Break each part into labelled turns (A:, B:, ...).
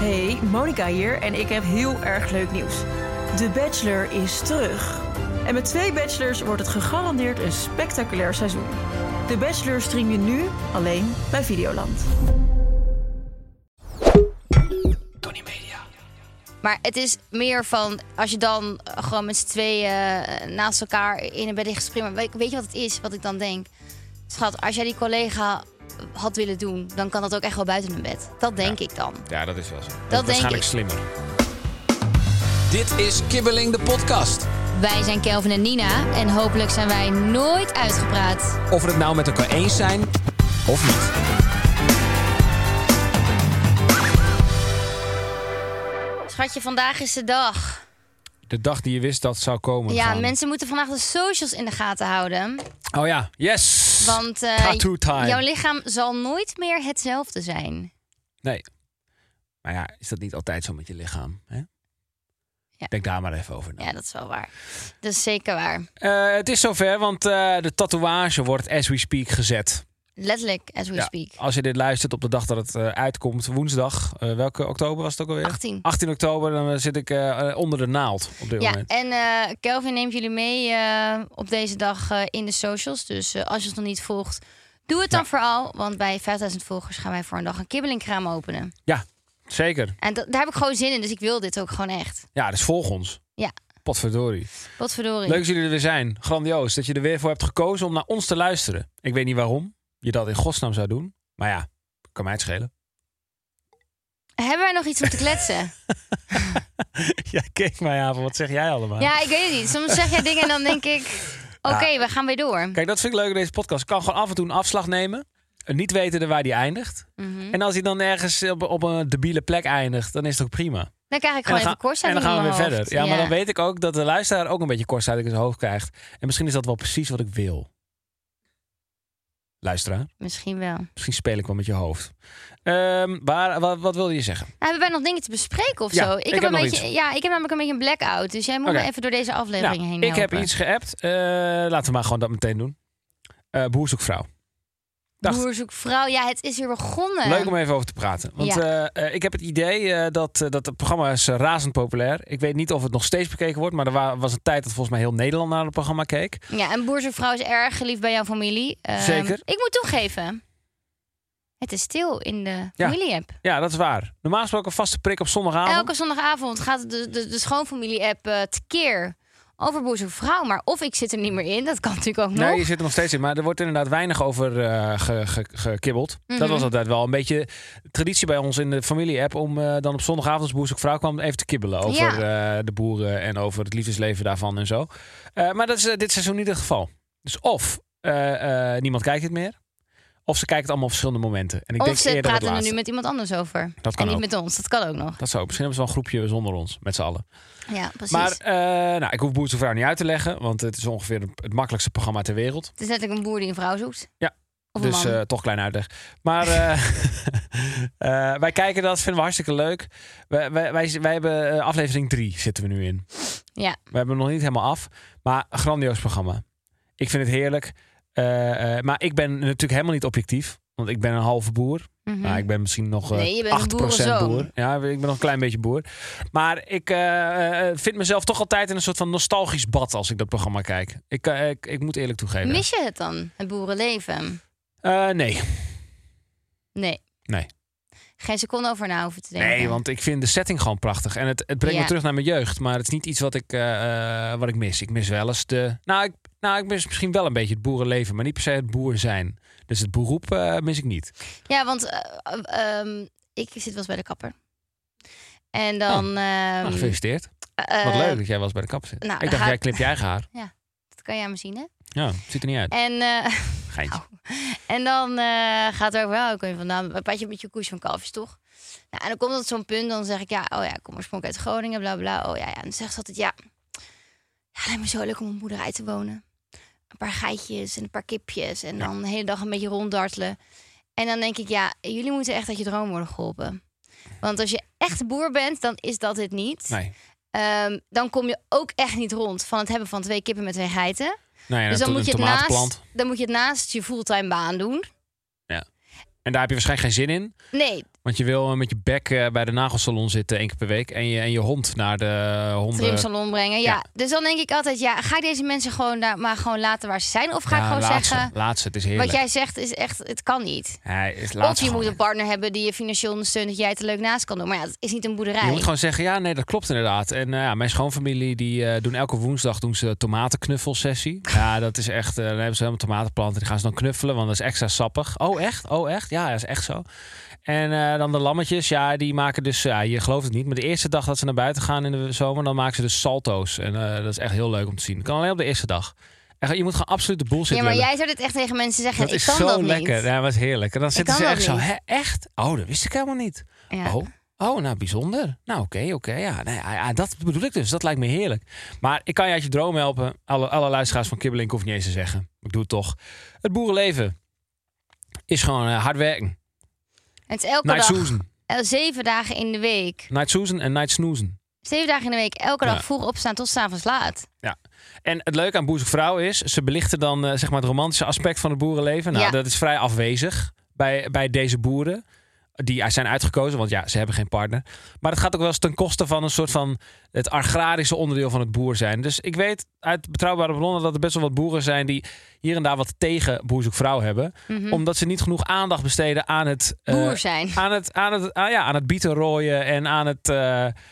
A: Hey, Monica hier en ik heb heel erg leuk nieuws. De Bachelor is terug. En met twee Bachelors wordt het gegarandeerd een spectaculair seizoen. De Bachelor stream je nu alleen bij Videoland.
B: Maar het is meer van als je dan eh, gewoon met z'n tweeën eh, naast elkaar in een bed ligt te springen. Weet, weet je wat het is, wat ik dan denk? Schat, als jij die collega had willen doen, dan kan dat ook echt wel buiten een bed. Dat denk ik dan.
C: Ja, dat is wel zo. Dat,
B: denk
C: is waarschijnlijk
B: ik.
C: slimmer.
D: Dit is Kibbeling de podcast.
B: Wij zijn Kelvin en Nina en hopelijk zijn wij nooit uitgepraat.
D: Of we het nou met elkaar eens zijn of niet.
B: Schatje, vandaag is de dag.
C: De dag die je wist dat zou komen.
B: Ja,
C: van-
B: mensen moeten vandaag de socials in de gaten houden.
C: Oh ja, yes!
B: Want eh,
C: Tattoo time.
B: jouw lichaam zal nooit meer hetzelfde zijn.
C: Nee. Maar ja, is dat niet altijd zo met je lichaam? Hè?
B: Ja.
C: Denk daar maar even over na.
B: Ja, dat is wel waar. Dat is zeker waar.
C: Eh, het is zover, want eh, de tatoeage wordt as we speak gezet.
B: Letterlijk, as we
C: Ja,
B: speak.
C: Als je dit luistert op de dag dat het eh, uitkomt, woensdag, eh, welke oktober was het ook alweer?
B: 18.
C: 18 oktober, dan eh, zit ik eh, eh, onder de naald op dit
B: Ja,
C: moment.
B: en eh, Kelvin neemt jullie mee eh, op deze dag eh, in de socials. Dus eh, als je ons nog niet volgt, doe het dan vooral. Want bij 5000 volgers gaan wij voor een dag een kibbelingkraam openen.
C: Ja, zeker.
B: En dat, daar heb ik gewoon zin in, dus ik wil dit ook gewoon echt.
C: Ja, dus volg ons.
B: Ja.
C: Potverdorie.
B: Wat verdorie.
C: Leuk dat jullie er weer zijn. Grandioos dat je er weer voor hebt gekozen om naar ons te luisteren. Ik weet niet waarom je dat in godsnaam zou doen. Maar ja, kan mij het schelen.
B: Hebben wij nog iets om te kletsen?
C: Jij keek mij aan van, wat zeg jij allemaal?
B: ja, ik weet het niet. Soms zeg jij dingen en dan denk ik... Oké, we gaan weer door.
C: Kijk, dat vind ik leuk aan deze podcast. Ik kan gewoon af en toe een afslag nemen. eh, Niet weten waar die eindigt.
B: Mhm.
C: En als hij dan ergens op, op een debiele plek eindigt, dan is het ook prima.
B: Dan krijg ik
C: En dan,
B: gewoon
C: gaan-
B: even korst
C: en dan gaan we weer verder. Ja, maar dan
B: weet
C: weet ik ook dat de luisteraar ook een beetje kortzijd in zijn hoofd krijgt. En misschien is dat wel precies wat ik wil. Luisteraar,
B: Misschien wel. Nou,
C: misschien speel ik wel met je hoofd. Ehm, waar, wat, wat wilde je zeggen?
B: hebben wij nog dingen te bespreken of
C: Ja,
B: zo?
C: ik heb nog
B: een beetje, ja, ik heb namelijk een beetje een blackout. Dus jij moet
C: Oké.
B: me even door deze aflevering
C: Nou,
B: heen
C: ik heb
B: helpen.
C: iets geappt. Eh, laten we maar gewoon dat meteen doen. Eh boer zoekt vrouw. Dacht-
B: Boer zoekt vrouw. Ja, het is weer begonnen.
C: Leuk om even over te praten. Want eh, eh, ik heb het idee eh, dat, eh, dat het programma is eh, razend populair. Ik weet niet of het nog steeds bekeken wordt. Maar er wa- was een tijd dat volgens mij heel Nederland naar het programma keek.
B: Ja, en boer zoekt vrouw is erg geliefd bij jouw familie. Ehm,
C: Zeker.
B: Ik moet toegeven. Het is stil in de
C: Ja.
B: familie-app.
C: Ja, dat is waar. Normaal gesproken een vaste prik op zondagavond.
B: Elke zondagavond gaat de, de, de schoonfamilie-app eh, tekeer over boer zoekt vrouw. Maar of ik zit er niet meer in, dat kan natuurlijk ook nog.
C: Nee, je zit er nog steeds in. Maar er wordt inderdaad weinig over eh, ge- ge- gekibbeld. Dat
B: Mhm.
C: was altijd wel een beetje traditie bij ons in de familie-app. Om eh, dan op zondagavond als boer zoekt vrouw kwam even te kibbelen. Over eh, de boeren en over het liefdesleven daarvan en zo. Eh, maar dat is eh, dit seizoen niet het geval. Dus of eh, eh, niemand kijkt het meer. Of ze kijken het allemaal op verschillende momenten. En ik
B: of
C: denk
B: ze
C: eerder het
B: praten er nu
C: laatste.
B: met iemand anders over.
C: Dat
B: En
C: kan
B: niet
C: ook.
B: met ons, dat kan ook nog.
C: Dat zou misschien hebben ze wel een groepje zonder ons, met z'n allen.
B: Ja, precies.
C: Maar eh, nou, ik hoef Boer zoekt vrouw niet uit te leggen, want het is ongeveer het makkelijkste programma ter wereld.
B: het is letterlijk een boer die een vrouw zoekt.
C: Ja.
B: Of een
C: Dus
B: man.
C: eh, toch klein uitleg. Maar eh, eh, wij kijken dat, vinden we hartstikke leuk. Wij, wij, wij, wij hebben eh, aflevering 3 zitten we nu in.
B: Ja.
C: We hebben hem nog niet helemaal af, maar een grandioos programma. Ik vind het heerlijk. Eh, eh, maar ik ben natuurlijk helemaal niet objectief, want ik ben een halve boer.
B: Mhm.
C: Nou, ik ben misschien nog eh,
B: Nee, je bent een
C: 8%
B: boerenzoon.
C: boer. Ja, ik ben nog een klein beetje boer. Maar ik eh, eh, vind mezelf toch altijd in een soort van nostalgisch bad als ik dat programma kijk. Ik, eh, ik, ik moet eerlijk toegeven.
B: Mis je het dan, het boerenleven?
C: Eh, nee.
B: Nee.
C: Nee.
B: Geen seconde over na hoeven te denken.
C: nee, want ik vind de setting gewoon prachtig. En het, het brengt me
B: Ja.
C: terug naar mijn jeugd. Maar het is niet iets wat ik, eh, eh, wat ik mis. Ik mis wel eens de... Nou ik, nou, ik mis misschien wel een beetje het boerenleven. Maar niet per se het boer zijn. Dus het beroep eh, mis ik niet.
B: Ja, want eh, eh, ehm, ik zit wel eens bij de kapper. En dan...
C: Nou,
B: ehm,
C: gefeliciteerd.
B: eh,
C: Wat leuk dat jij wel eens bij de kap zit.
B: nou,
C: ik
B: dan
C: dacht,
B: ga
C: jij
B: ik-
C: knipt je eigen haar.
B: Dat eh, kan jij me zien, hè?
C: Ja, ziet er niet uit.
B: En, eh,
C: Geintje.
B: en dan eh, gaat er ook wel ook een van... Nou, een beetje met je koers van kalfjes, toch? Nou, en dan komt dat zo'n punt, dan zeg ik... Ja, oh ja, ik kom oorspronkelijk uit Groningen, bla bla. Oh ja, ja. En dan zegt ze altijd... Ja, ja, het lijkt me zo leuk om op een boerderij te wonen. Een paar geitjes en een paar kipjes. En dan de hele dag een beetje ronddartelen. En dan denk ik, ja, jullie moeten echt uit je droom worden geholpen. Want als je echt boer bent, dan is dat het niet.
C: Nee.
B: Ehm, dan kom je ook echt niet rond van het hebben van twee kippen met twee geiten.
C: Nou ja,
B: dus
C: een
B: dan
C: to-
B: moet, je
C: een
B: het
C: tomatenplant.
B: naast, dan moet je het naast je fulltime baan doen.
C: En daar heb je waarschijnlijk geen zin in.
B: Nee,
C: Want je wil eh, met je bek eh, bij de nagelsalon zitten één keer per week. En je, en je hond naar de honden...
B: trimsalon brengen. Ja.
C: Ja.
B: dus dan denk ik altijd, ja, ga ik deze mensen gewoon daar, maar gewoon laten waar ze zijn? Of ga ik
C: Ja,
B: gewoon
C: laat ze,
B: zeggen,
C: laat ze, het is heerlijk.
B: wat jij zegt is echt, het kan niet.
C: Hij is laat
B: of
C: ze
B: je
C: gewoon.
B: moet een partner hebben die je financieel ondersteunt, dat jij het er leuk naast kan doen. Maar ja, dat is niet een boerderij.
C: Je moet gewoon zeggen, ja, nee, dat klopt inderdaad. En eh, ja, mijn schoonfamilie, die eh, doen elke woensdag doen ze tomatenknuffelsessie. Ja, dat is echt, eh, dan hebben ze helemaal tomatenplanten. Die gaan ze dan knuffelen, want dat is extra sappig. Oh, echt? Oh, echt? Ja, dat is echt zo. En eh, dan de lammetjes, ja, die maken dus, ja, je gelooft het niet, maar de eerste dag dat ze naar buiten gaan in de zomer, dan maken ze dus salto's. En eh, dat is echt heel leuk om te zien. Kan alleen op de eerste dag. Echt, je moet gewoon absoluut de boel zitten.
B: ja, maar jij zou dit echt tegen mensen zeggen,
C: dat
B: ik
C: is
B: kan
C: zo
B: dat
C: lekker.
B: niet.
C: Ja, dat is heerlijk. En dan zitten
B: kan
C: ze
B: dat
C: echt zo,
B: niet.
C: hè, echt? Oh, dat wist ik helemaal niet.
B: Ja.
C: Oh, oh, nou bijzonder. Nou, oké, oké. ja. Nou, ja, ja, dat bedoel ik dus. Dat lijkt me heerlijk. Maar ik kan je uit je droom helpen. Alle, alle luisteraars van Kibbeling hoef niet eens te zeggen. Ik doe het toch. Het boerenleven is gewoon eh, hard werken.
B: En het is elke
C: Night
B: dag,
C: Susan.
B: eh, zeven dagen in de week.
C: Night Susan en Night Snoezen.
B: Zeven dagen in de week, elke dag
C: Ja.
B: vroeg opstaan tot s'avonds laat.
C: En het leuke aan Boezig Vrouw is, ze belichten dan eh, zeg maar het romantische aspect van het boerenleven. Nou,
B: Ja.
C: dat is vrij afwezig bij, bij deze boeren. Die zijn uitgekozen, want ja, ze hebben geen partner. Maar het gaat ook wel eens ten koste van een soort van het agrarische onderdeel van het boer zijn. Dus ik weet uit betrouwbare bronnen dat er best wel wat boeren zijn die hier en daar wat tegen Boezig Vrouw hebben.
B: Mhm.
C: Omdat ze niet genoeg aandacht besteden aan het, eh,
B: Boer zijn.
C: aan het, aan het, aan- ja, aan het bieten rooien en aan het, eh,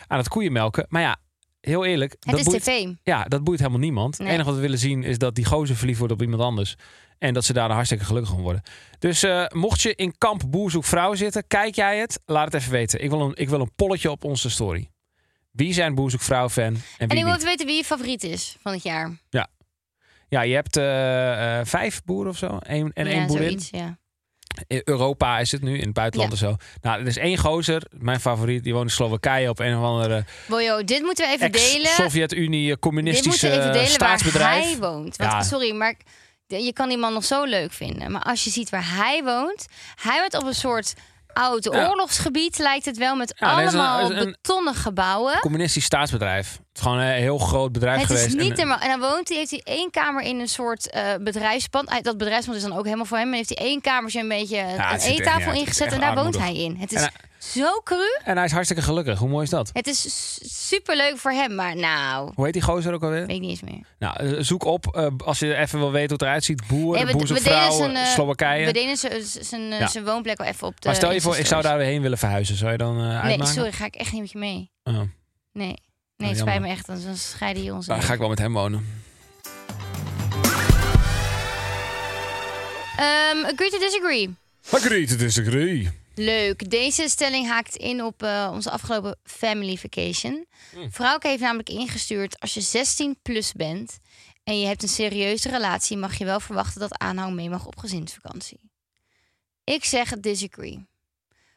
C: aan het koeienmelken. Maar ja, heel eerlijk.
B: Het is
C: boeit-
B: tv.
C: ja, dat boeit helemaal niemand.
B: Nee.
C: Het enige wat we willen zien is dat die gozer verliefd wordt op iemand anders. En dat ze daar hartstikke gelukkig van worden. Dus eh, mocht je in kamp Boer Zoekt Vrouw zitten, kijk jij het? Laat het even weten. Ik wil een, ik wil een polletje op onze story. Wie zijn Boer Zoekt Vrouw fan en
B: En
C: wie
B: ik wil
C: niet?
B: even weten wie je favoriet is van het jaar.
C: Ja, je hebt eh, eh, vijf boeren of zo. Eén, en
B: ja,
C: één boerin.
B: zoiets, ja.
C: In Europa is het nu, in het buitenland en zo. Nou, er is één gozer, mijn favoriet, die woont in Slowakije op een of andere
B: Bojo, dit moeten we even delen.
C: ex-Sovjet-Unie
B: Dit moet je
C: communistische
B: even delen waar
C: eh, staatsbedrijf.
B: hij woont. Want,
C: Ja.
B: Sorry, maar ik- de- je kan die man nog zo leuk vinden. Maar als je ziet waar hij woont... Hij woont op een soort oud
C: Ja.
B: oorlogsgebied, lijkt het wel. Met
C: Ja, er is een-
B: allemaal
C: er is een-
B: betonnen gebouwen.
C: communistisch staatsbedrijf. Het is gewoon een heel groot bedrijf
B: Het
C: geweest.
B: is niet
C: en,
B: normaal. En dan woont hij, heeft hij één kamer in een soort eh bedrijfspand. Hij- Dat bedrijfspand is dan ook helemaal voor hem. En heeft hij één kamertje een beetje
C: het
B: een
C: ziet er echt niet
B: eettafel
C: uit. Het is
B: ingezet.
C: echt
B: En daar woont hij
C: armoedig.
B: in. Het
C: En
B: is zo cru.
C: en hij is hartstikke gelukkig. Hoe mooi is dat?
B: Het is super leuk voor hem. Maar nou,
C: Hoe heet die gozer ook alweer?
B: weet ik niet eens meer.
C: Nou, eh, zoek op eh, als je even wil weten hoe het eruit ziet. Boer,
B: Nee,
C: nee,
B: delen zijn, eh,
C: Slowakije.
B: We deden zijn- zijn eh,
C: Ja.
B: zijn woonplek al even op de
C: maar stel je voor, ik zou
B: Insta-stories.
C: daar weer heen willen verhuizen. Zou je dan eh
B: Nee,
C: uitmaken?
B: sorry, ga ik echt niet met je mee.
C: Oh.
B: Nee, nee
C: jammer.
B: het spijt me echt. anders Dan scheiden je ons.
C: Dan ga ik wel met hem wonen.
B: Ehm, agree to disagree.
C: Agree to disagree.
B: Leuk. Deze stelling haakt in op eh, onze afgelopen family vacation.
C: Hmm.
B: Vrouwke heeft namelijk ingestuurd... als je 16 plus bent en je hebt een serieuze relatie... mag je wel verwachten dat aanhang mee mag op gezinsvakantie. Ik zeg disagree.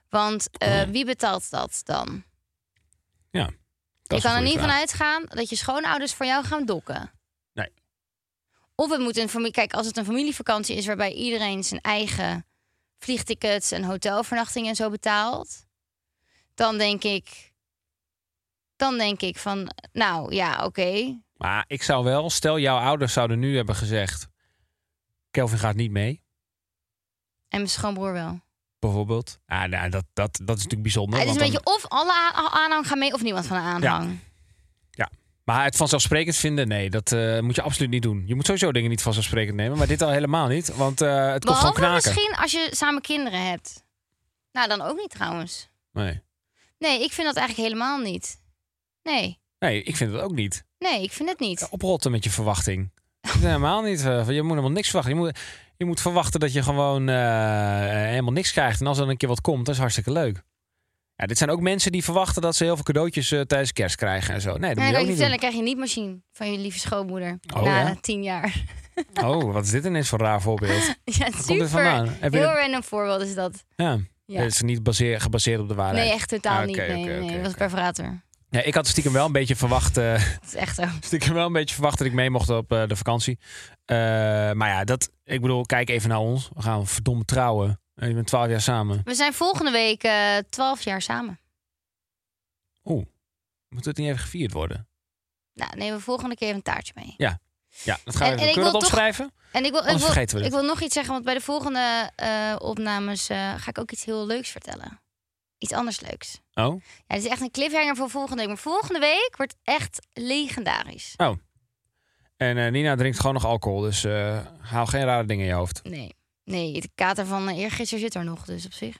B: Want eh, wie betaalt dat dan?
C: Ja.
B: je kan er niet van uitgaan dat je schoonouders voor jou gaan dokken.
C: Nee.
B: Of het moet een familie. Kijk, als het een familievakantie is waarbij iedereen zijn eigen vliegtickets en hotelvernachtingen en zo betaalt, dan denk ik. Dan denk ik van, nou ja, oké.
C: Maar ik zou wel, stel jouw ouders zouden nu hebben gezegd... Kelvin gaat niet mee,
B: En mijn schoonbroer wel.
C: bijvoorbeeld. Ah, nou, dat, dat, dat is natuurlijk bijzonder.
B: Ah, het is
C: want
B: een
C: dan-
B: beetje of alle a- aanhang gaan mee of niemand van de aanhang.
C: Maar het vanzelfsprekend vinden, nee, dat eh, moet je absoluut niet doen. Je moet sowieso dingen niet vanzelfsprekend nemen, maar dit al helemaal niet. Want eh, het kost gewoon
B: Behalve
C: knaken.
B: misschien als je samen kinderen hebt. Nou, dan ook niet trouwens.
C: Nee.
B: Nee, ik vind dat eigenlijk helemaal niet. Nee,
C: nee, ik vind het ook niet.
B: nee, ik vind het niet.
C: Oprotten met je verwachting. Dat is helemaal niet. eh, je moet helemaal niks verwachten. Je moet, je moet verwachten dat je gewoon eh, helemaal niks krijgt. En als er dan een keer wat komt, dat is hartstikke leuk. Ja, dit zijn ook mensen die verwachten dat ze heel veel cadeautjes eh, tijdens kerst krijgen en zo. Nee, dat moet
B: Nee, kan
C: je
B: ik je
C: ook
B: vertellen, dan
C: niet
B: krijg je niet machine van je lieve schoonmoeder.
C: Oh,
B: na
C: ja?
B: tien jaar.
C: doen. Oh, wat is dit ineens voor een raar voorbeeld?
B: ja,
C: komt dit
B: super.
C: vandaan? Heb je
B: Heel
C: dit-
B: random voorbeeld is dat.
C: Ja,
B: Ja.
C: het is niet baseer- gebaseerd op de waarheid.
B: Nee, echt totaal
C: Ah,
B: niet.
C: oké,
B: Nee,
C: oké,
B: nee,
C: oké,
B: dat was
C: oké.
B: perforator.
C: Ja, ik had stiekem wel een beetje verwacht... eh,
B: Dat is echt zo.
C: stiekem wel een beetje verwacht dat ik mee mocht op eh, de vakantie. Eh, maar ja, dat, ik bedoel, kijk even naar ons. We gaan verdomme trouwen. En je bent twaalf jaar samen.
B: We zijn volgende week eh, twaalf jaar samen.
C: Oeh, moet het niet even gevierd worden?
B: Nou, nemen we volgende keer even een taartje mee.
C: Ja, dat gaan we even.
B: En- en ik
C: Kunnen we
B: wil
C: dat
B: toch-
C: opschrijven?
B: En ik wil, ik
C: Anders
B: wil,
C: vergeten we
B: ik
C: dit.
B: wil nog iets zeggen, want bij de volgende eh, opnames eh, ga ik ook iets heel leuks vertellen. iets anders leuks.
C: Oh,
B: Ja, dit is echt een cliffhanger voor volgende week. Maar volgende week wordt echt legendarisch.
C: oh. En eh, Nina drinkt gewoon nog alcohol, dus eh haal geen rare dingen in je hoofd.
B: Nee, nee, de kater van eh, eergisteren zit er nog, dus op zich.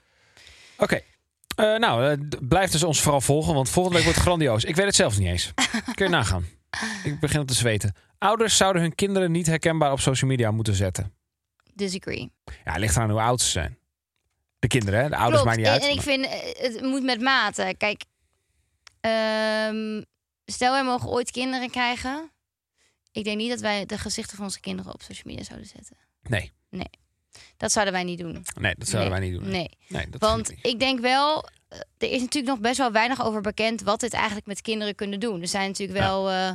C: Oké. Eh, nou, eh, d- blijf dus ons vooral volgen, want volgende week wordt grandioos. Ik weet het zelf niet eens. Kun je nagaan. Ik begin het te zweten. Ouders zouden hun kinderen niet herkenbaar op social media moeten zetten.
B: Disagree.
C: Ja, het ligt aan hoe oud ze zijn. De kinderen, hè? De ouders maakt
B: Klopt.
C: niet
B: en,
C: uit.
B: en ik
C: maar-
B: vind, eh, het moet met mate. Kijk, ehm, stel wij mogen ooit kinderen krijgen. Ik denk niet dat wij de gezichten van onze kinderen op social media zouden zetten.
C: Nee,
B: Dat zouden wij niet doen.
C: nee, dat zouden wij niet doen.
B: Nee.
C: Nee, dat
B: Want
C: vind ik niet.
B: ik denk wel, eh, er is natuurlijk nog best wel weinig over bekend wat dit eigenlijk met kinderen kunnen doen. Er zijn natuurlijk wel eh,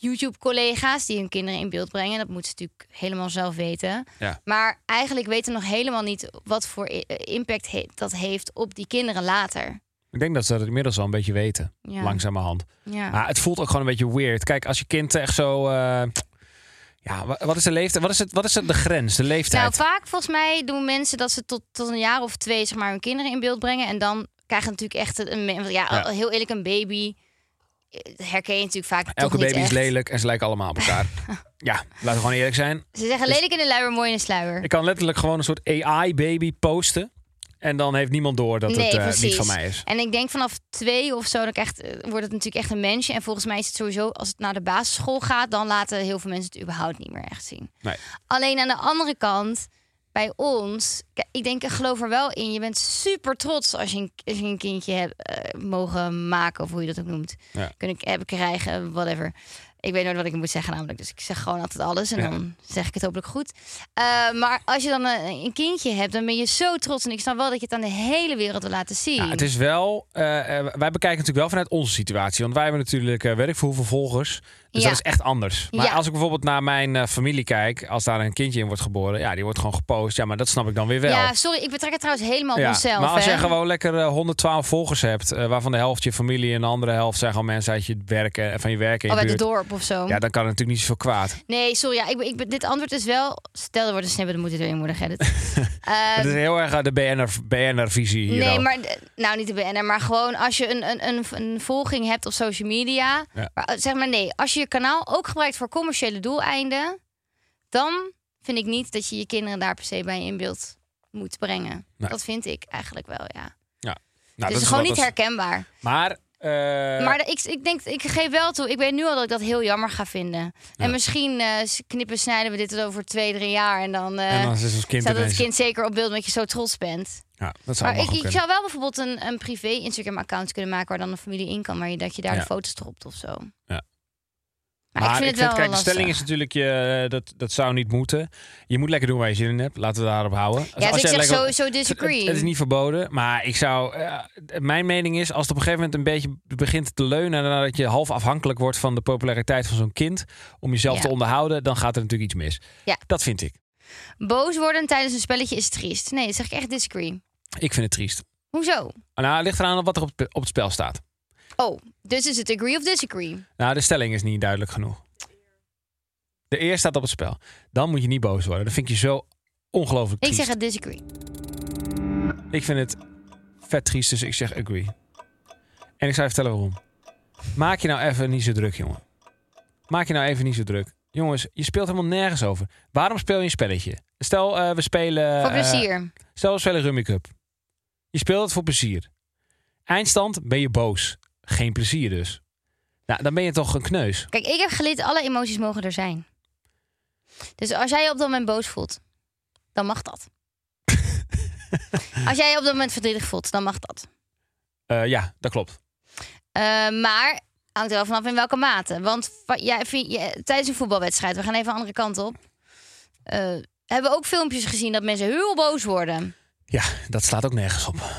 B: YouTube-collega's die hun kinderen in beeld brengen. Dat moeten ze natuurlijk helemaal zelf weten.
C: Ja.
B: Maar eigenlijk weten we nog helemaal niet wat voor i- eh, impact he- dat heeft op die kinderen later.
C: Ik denk dat ze dat inmiddels al een beetje weten,
B: Ja.
C: langzamerhand.
B: Ja.
C: Maar het voelt ook gewoon een beetje weird. Kijk, als je kind echt zo... eh, ja, wa- wat is de leeftijd? Wat is, het, wat is het, de grens, de leeftijd?
B: Nou, vaak volgens mij doen mensen dat ze tot, tot een jaar of twee zeg maar, hun kinderen in beeld brengen. En dan krijgen natuurlijk echt een... me- want Ja,
C: Ja.
B: heel eerlijk, een baby eh, herken je natuurlijk vaak toch
C: Elke
B: niet
C: baby is
B: echt.
C: lelijk en ze lijken allemaal op elkaar. ja, laten we gewoon eerlijk zijn.
B: Ze zeggen lelijk in de luier, mooi in de sluier.
C: Ik kan letterlijk gewoon een soort AI-baby posten. En dan heeft niemand door dat
B: Nee,
C: het eh, niet
B: precies.
C: van mij is.
B: En ik denk vanaf twee of zo, dan krijgt, eh, wordt het natuurlijk echt een mensje. En volgens mij is het sowieso, als het naar de basisschool gaat, dan laten heel veel mensen het überhaupt niet meer echt zien.
C: Nee.
B: Alleen aan de andere kant, bij ons, k- ik denk, ik geloof er wel in. Je bent super trots als je een, als je een kindje hebt eh, mogen maken, of hoe je dat ook noemt.
C: Ja.
B: Kunnen k- hebben krijgen, whatever. Ik weet nooit wat ik moet zeggen namelijk, dus ik zeg gewoon altijd alles en
C: Ja.
B: dan zeg ik het hopelijk goed. Eh, maar als je dan eh, een, een kindje hebt, dan ben je zo trots. En ik snap wel dat je het aan de hele wereld wil laten zien.
C: Ja, het is wel, eh, eh, wij bekijken natuurlijk wel vanuit onze situatie. Want wij hebben natuurlijk eh werk voor hoeveel volgers. Dus
B: Ja.
C: dat is echt anders. Maar
B: Ja.
C: als ik bijvoorbeeld naar mijn eh, familie kijk, als daar een kindje in wordt geboren, ja, die wordt gewoon gepost. Ja, maar dat snap ik dan weer wel.
B: Ja, sorry, ik betrek het trouwens helemaal op
C: Ja,
B: mezelf.
C: maar als
B: hè.
C: je gewoon lekker eh, 112 volgers hebt, eh, waarvan de helft je familie en de andere helft zijn gewoon mensen uit je werk, eh, van je werk en
B: Of
C: je
B: Oh, uit Ehm, het
C: buurt.
B: dorp of zo.
C: Ja, dan kan het natuurlijk niet zoveel kwaad.
B: Nee, sorry. Ja, ik, ben- ik, ben- dit antwoord is wel... Stel, er wordt een snippet, dan moet je erin worden, Gerrit. Ehm,
C: Het is heel erg eh, de BNR, BNR-visie hier.
B: nee,
C: ook.
B: maar... d- Nou, niet de BNR, maar gewoon als je een, een, een, een volging hebt op social media.
C: Ja.
B: Maar, eh, zeg maar nee, als je je kanaal ook gebruikt voor commerciële doeleinden... dan vind ik niet dat je je kinderen daar per se bij in beeld moet brengen.
C: Nee.
B: Dat vind ik eigenlijk wel, ja.
C: Nou,
B: dus
C: dat
B: het is gewoon
C: wel-
B: niet
C: dat
B: herkenbaar.
C: is- Maar, eh,
B: Maar ik, ik denk, ik geef wel toe. Ik weet nu al dat ik dat heel jammer ga vinden. En misschien eh, s- knippen, snijden we dit tot over twee, drie jaar. En dan, eh
C: en dan is ons kind
B: staat het
C: ineens-
B: kind zeker op beeld omdat je zo trots bent.
C: Ja, dat zou
B: Maar
C: allemaal
B: ik,
C: goed
B: ik
C: kunnen.
B: zou wel bijvoorbeeld een, een privé Instagram-account kunnen maken... waar dan een familie in kan, maar je, dat je daar
C: Ja.
B: de foto's dropt of zo.
C: Ja.
B: Maar, ik vind het wel
C: kijk, de
B: lastig.
C: stelling is natuurlijk, je, dat, dat zou niet moeten. Je moet lekker doen waar je zin in hebt. Laten we daarop houden. Als- als
B: Ja, dus ik
C: jij
B: zeg
C: lekker-
B: sowieso
C: het,
B: disagree.
C: het, het is niet verboden, maar ik zou. eh, mijn mening is, als het op een gegeven moment een beetje begint te leunen. nadat je half afhankelijk wordt van de populariteit van zo'n kind. om jezelf
B: Ja.
C: te onderhouden, dan gaat er natuurlijk iets mis.
B: Ja.
C: Dat vind ik.
B: Boos worden tijdens een spelletje is triest. Nee, dat zeg ik echt disagree.
C: Ik vind het triest.
B: Hoezo?
C: Nou, het ligt eraan op wat er op, het- op het spel staat.
B: Oh, dus is het agree of disagree?
C: Nou, de stelling is niet duidelijk genoeg. De eer staat op het spel. Dan moet je niet boos worden. Dat vind ik je zo ongelooflijk
B: Ik
C: triest.
B: zeg het disagree.
C: Ik vind het vet triest, dus ik zeg agree. En ik zou je vertellen waarom. Maak je nou even niet zo druk, jongen. Maak je nou even niet zo druk. Jongens, je speelt helemaal nergens over. Waarom speel je een spelletje? Stel, eh, we spelen...
B: Voor
C: eh,
B: plezier.
C: stel, we spelen Rummy Cup. Je speelt het voor plezier. Eindstand ben je boos. Geen plezier dus. Nou, dan ben je toch een kneus.
B: Kijk, ik heb geleerd, alle emoties mogen er zijn. Dus als jij je op dat moment boos voelt, dan mag dat. als jij je op dat moment verdrietig voelt, dan mag dat.
C: Eh, ja, dat klopt.
B: Eh, maar hangt er wel vanaf in welke mate. Want va- ja, vind je- tijdens een voetbalwedstrijd, we gaan even een andere kant op. eh, hebben we ook filmpjes gezien dat mensen heel boos worden.
C: Ja, dat slaat ook nergens op.
B: Oh,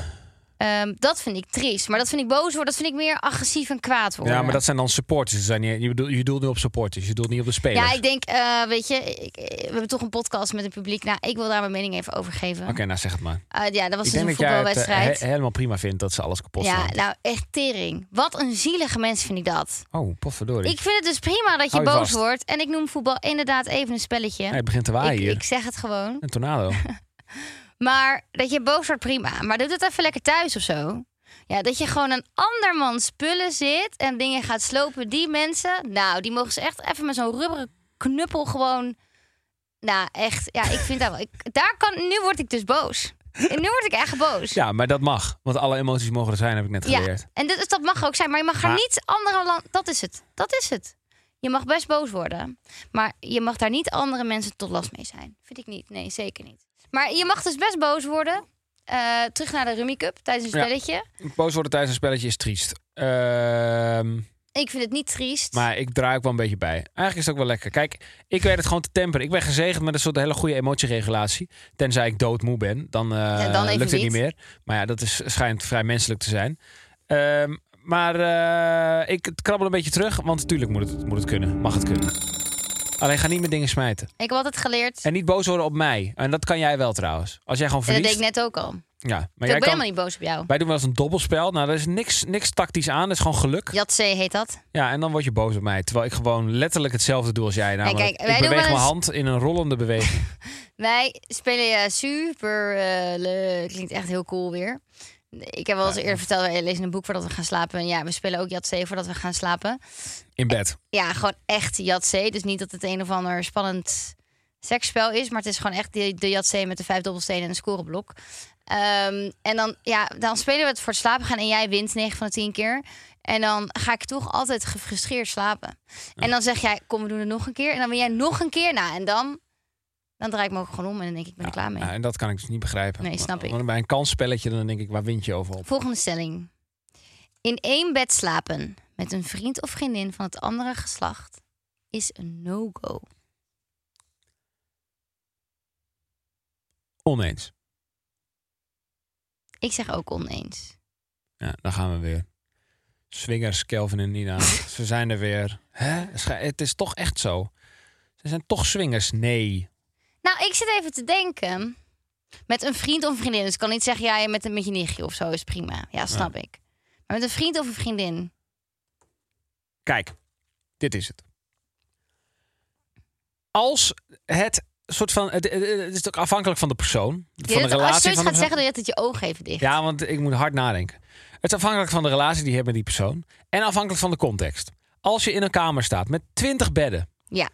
B: Ehm, dat vind ik triest. Maar dat vind ik boos worden, dat vind ik meer agressief en kwaad worden.
C: Ja, maar dat zijn dan supporters. Dat zijn niet- Je bedoelt, je doelt nu op supporters. Je doelt niet op de spelers.
B: Ja, ik denk, eh, weet je, ik- we hebben toch een podcast met een publiek. Nou, ik wil daar mijn mening even over geven.
C: Oké, nou zeg het maar.
B: Eh, ja, dat was
C: Ik
B: dus
C: denk
B: een
C: dat jij het eh,
B: voetbalwedstrijd.
C: he- helemaal prima vindt dat ze alles kapot
B: ja,
C: slaan.
B: nou echt tering. Wat een zielige mens vind ik dat.
C: Oh, potverdorie.
B: Ik vind het dus prima dat je,
C: Hou je
B: boos
C: vast.
B: wordt. En ik noem voetbal inderdaad even een spelletje.
C: Hij begint te waaien
B: ik,
C: hier.
B: ik zeg het gewoon.
C: Een tornado.
B: Maar dat je boos wordt, prima. Maar doe het even lekker thuis of zo. Ja, dat je gewoon een andermans spullen zit en dingen gaat slopen. Die mensen, nou, die mogen ze echt even met zo'n rubberen knuppel gewoon... Nou, echt. Ja, ik vind dat wel... Ik, daar kan... Nu word ik dus boos. En nu word ik echt boos.
C: Ja, maar dat mag. Want alle emoties mogen er zijn, heb ik net geleerd.
B: en dit, dus dat mag ook zijn. Maar je mag er
C: Maar-
B: niet andere land... Dat is het. Dat is het. Je mag best boos worden. Maar je mag daar niet andere mensen tot last mee zijn. Vind ik niet. Nee, zeker niet. Maar je mag dus best boos worden. Eh, terug naar de Rummy Cup tijdens een
C: Ja.
B: spelletje.
C: Boos worden tijdens een spelletje is triest. Ehm,
B: Ik vind het niet triest.
C: maar ik draai ook wel een beetje bij. Eigenlijk is het ook wel lekker. Kijk, ik weet het gewoon te temperen. Ik ben gezegend met een soort hele goede emotieregulatie. Tenzij ik doodmoe ben, dan, eh,
B: Ja, dan even
C: lukt het niet
B: niet.
C: meer. Maar ja, dat is, schijnt vrij menselijk te zijn. Ehm, maar eh, ik krabbel een beetje terug, want natuurlijk moet het, moet het kunnen. Mag het kunnen. Alleen ga niet met dingen smijten.
B: Ik heb altijd geleerd.
C: En niet boos worden op mij. En dat kan jij wel trouwens. Als jij gewoon
B: En dat deed
C: verliest.
B: ik net ook al.
C: Ja, maar
B: ik
C: jij
B: ben
C: kan,
B: helemaal niet boos op jou.
C: wij doen wel eens een dobbelspel. Nou, daar is niks, niks tactisch aan. Dat is gewoon geluk. Ja.
B: Jatse heet dat.
C: en dan word je boos op mij. Terwijl ik gewoon letterlijk hetzelfde doe als jij. Namelijk,
B: kijk, wij
C: ik
B: doen
C: beweeg
B: wel
C: mijn
B: eens-
C: hand in een rollende beweging.
B: Wij spelen ja, super eh, leuk. Klinkt echt heel cool weer. Ik heb wel eens eerder verteld, wij lezen een boek voordat we gaan slapen. En ja, we spelen ook Jatse voordat we gaan slapen.
C: In bed.
B: Ja, gewoon echt Jatse. Dus niet dat het een of ander spannend seksspel is. Maar het is gewoon echt de, de Jatse met de vijf dobbelstenen en een scoreblok. Ehm, en dan, ja, dan spelen we het voor het slapen gaan. En jij wint 9 van de 10 keer. En dan ga ik toch altijd gefrustreerd slapen. En dan zeg jij, kom, we doen het nog een keer. En dan ben jij nog een keer na. En dan, dan draai ik me ook gewoon om. En dan denk ik, ik ben er klaar mee.
C: Ja, en dat kan ik dus niet begrijpen.
B: Nee, snap
C: Maar-
B: ik.
C: maar Bij een kansspelletje dan denk ik, waar wint je over op?
B: Volgende stelling. In één bed slapen met een vriend of vriendin van het andere geslacht is een no-go.
C: Oneens.
B: Ik zeg ook oneens.
C: Ja, daar gaan we weer. Swingers, Kelvin en Nina. Ze zijn er weer. Hè? Scha- Het is toch echt zo. Ze zijn toch swingers? Nee.
B: Nou, ik zit even te denken. Met een vriend of een vriendin. Dus ik kan niet zeggen, ja, met, een, met je nichtje of zo is prima. Ja, snap ik. Maar met een vriend of een vriendin.
C: Kijk, dit is het. Als het soort van. Het, het- het is ook afhankelijk van de persoon.
B: Je
C: van de
B: doet het- als je
C: relatie.
B: zoiets
C: Van de,
B: gaat zeggen, dat je het je ogen even dicht.
C: ja, want ik moet hard nadenken. Het is afhankelijk van de relatie die je hebt met die persoon. En afhankelijk van de context. Als je in een kamer staat met 20 bedden.
B: Ja.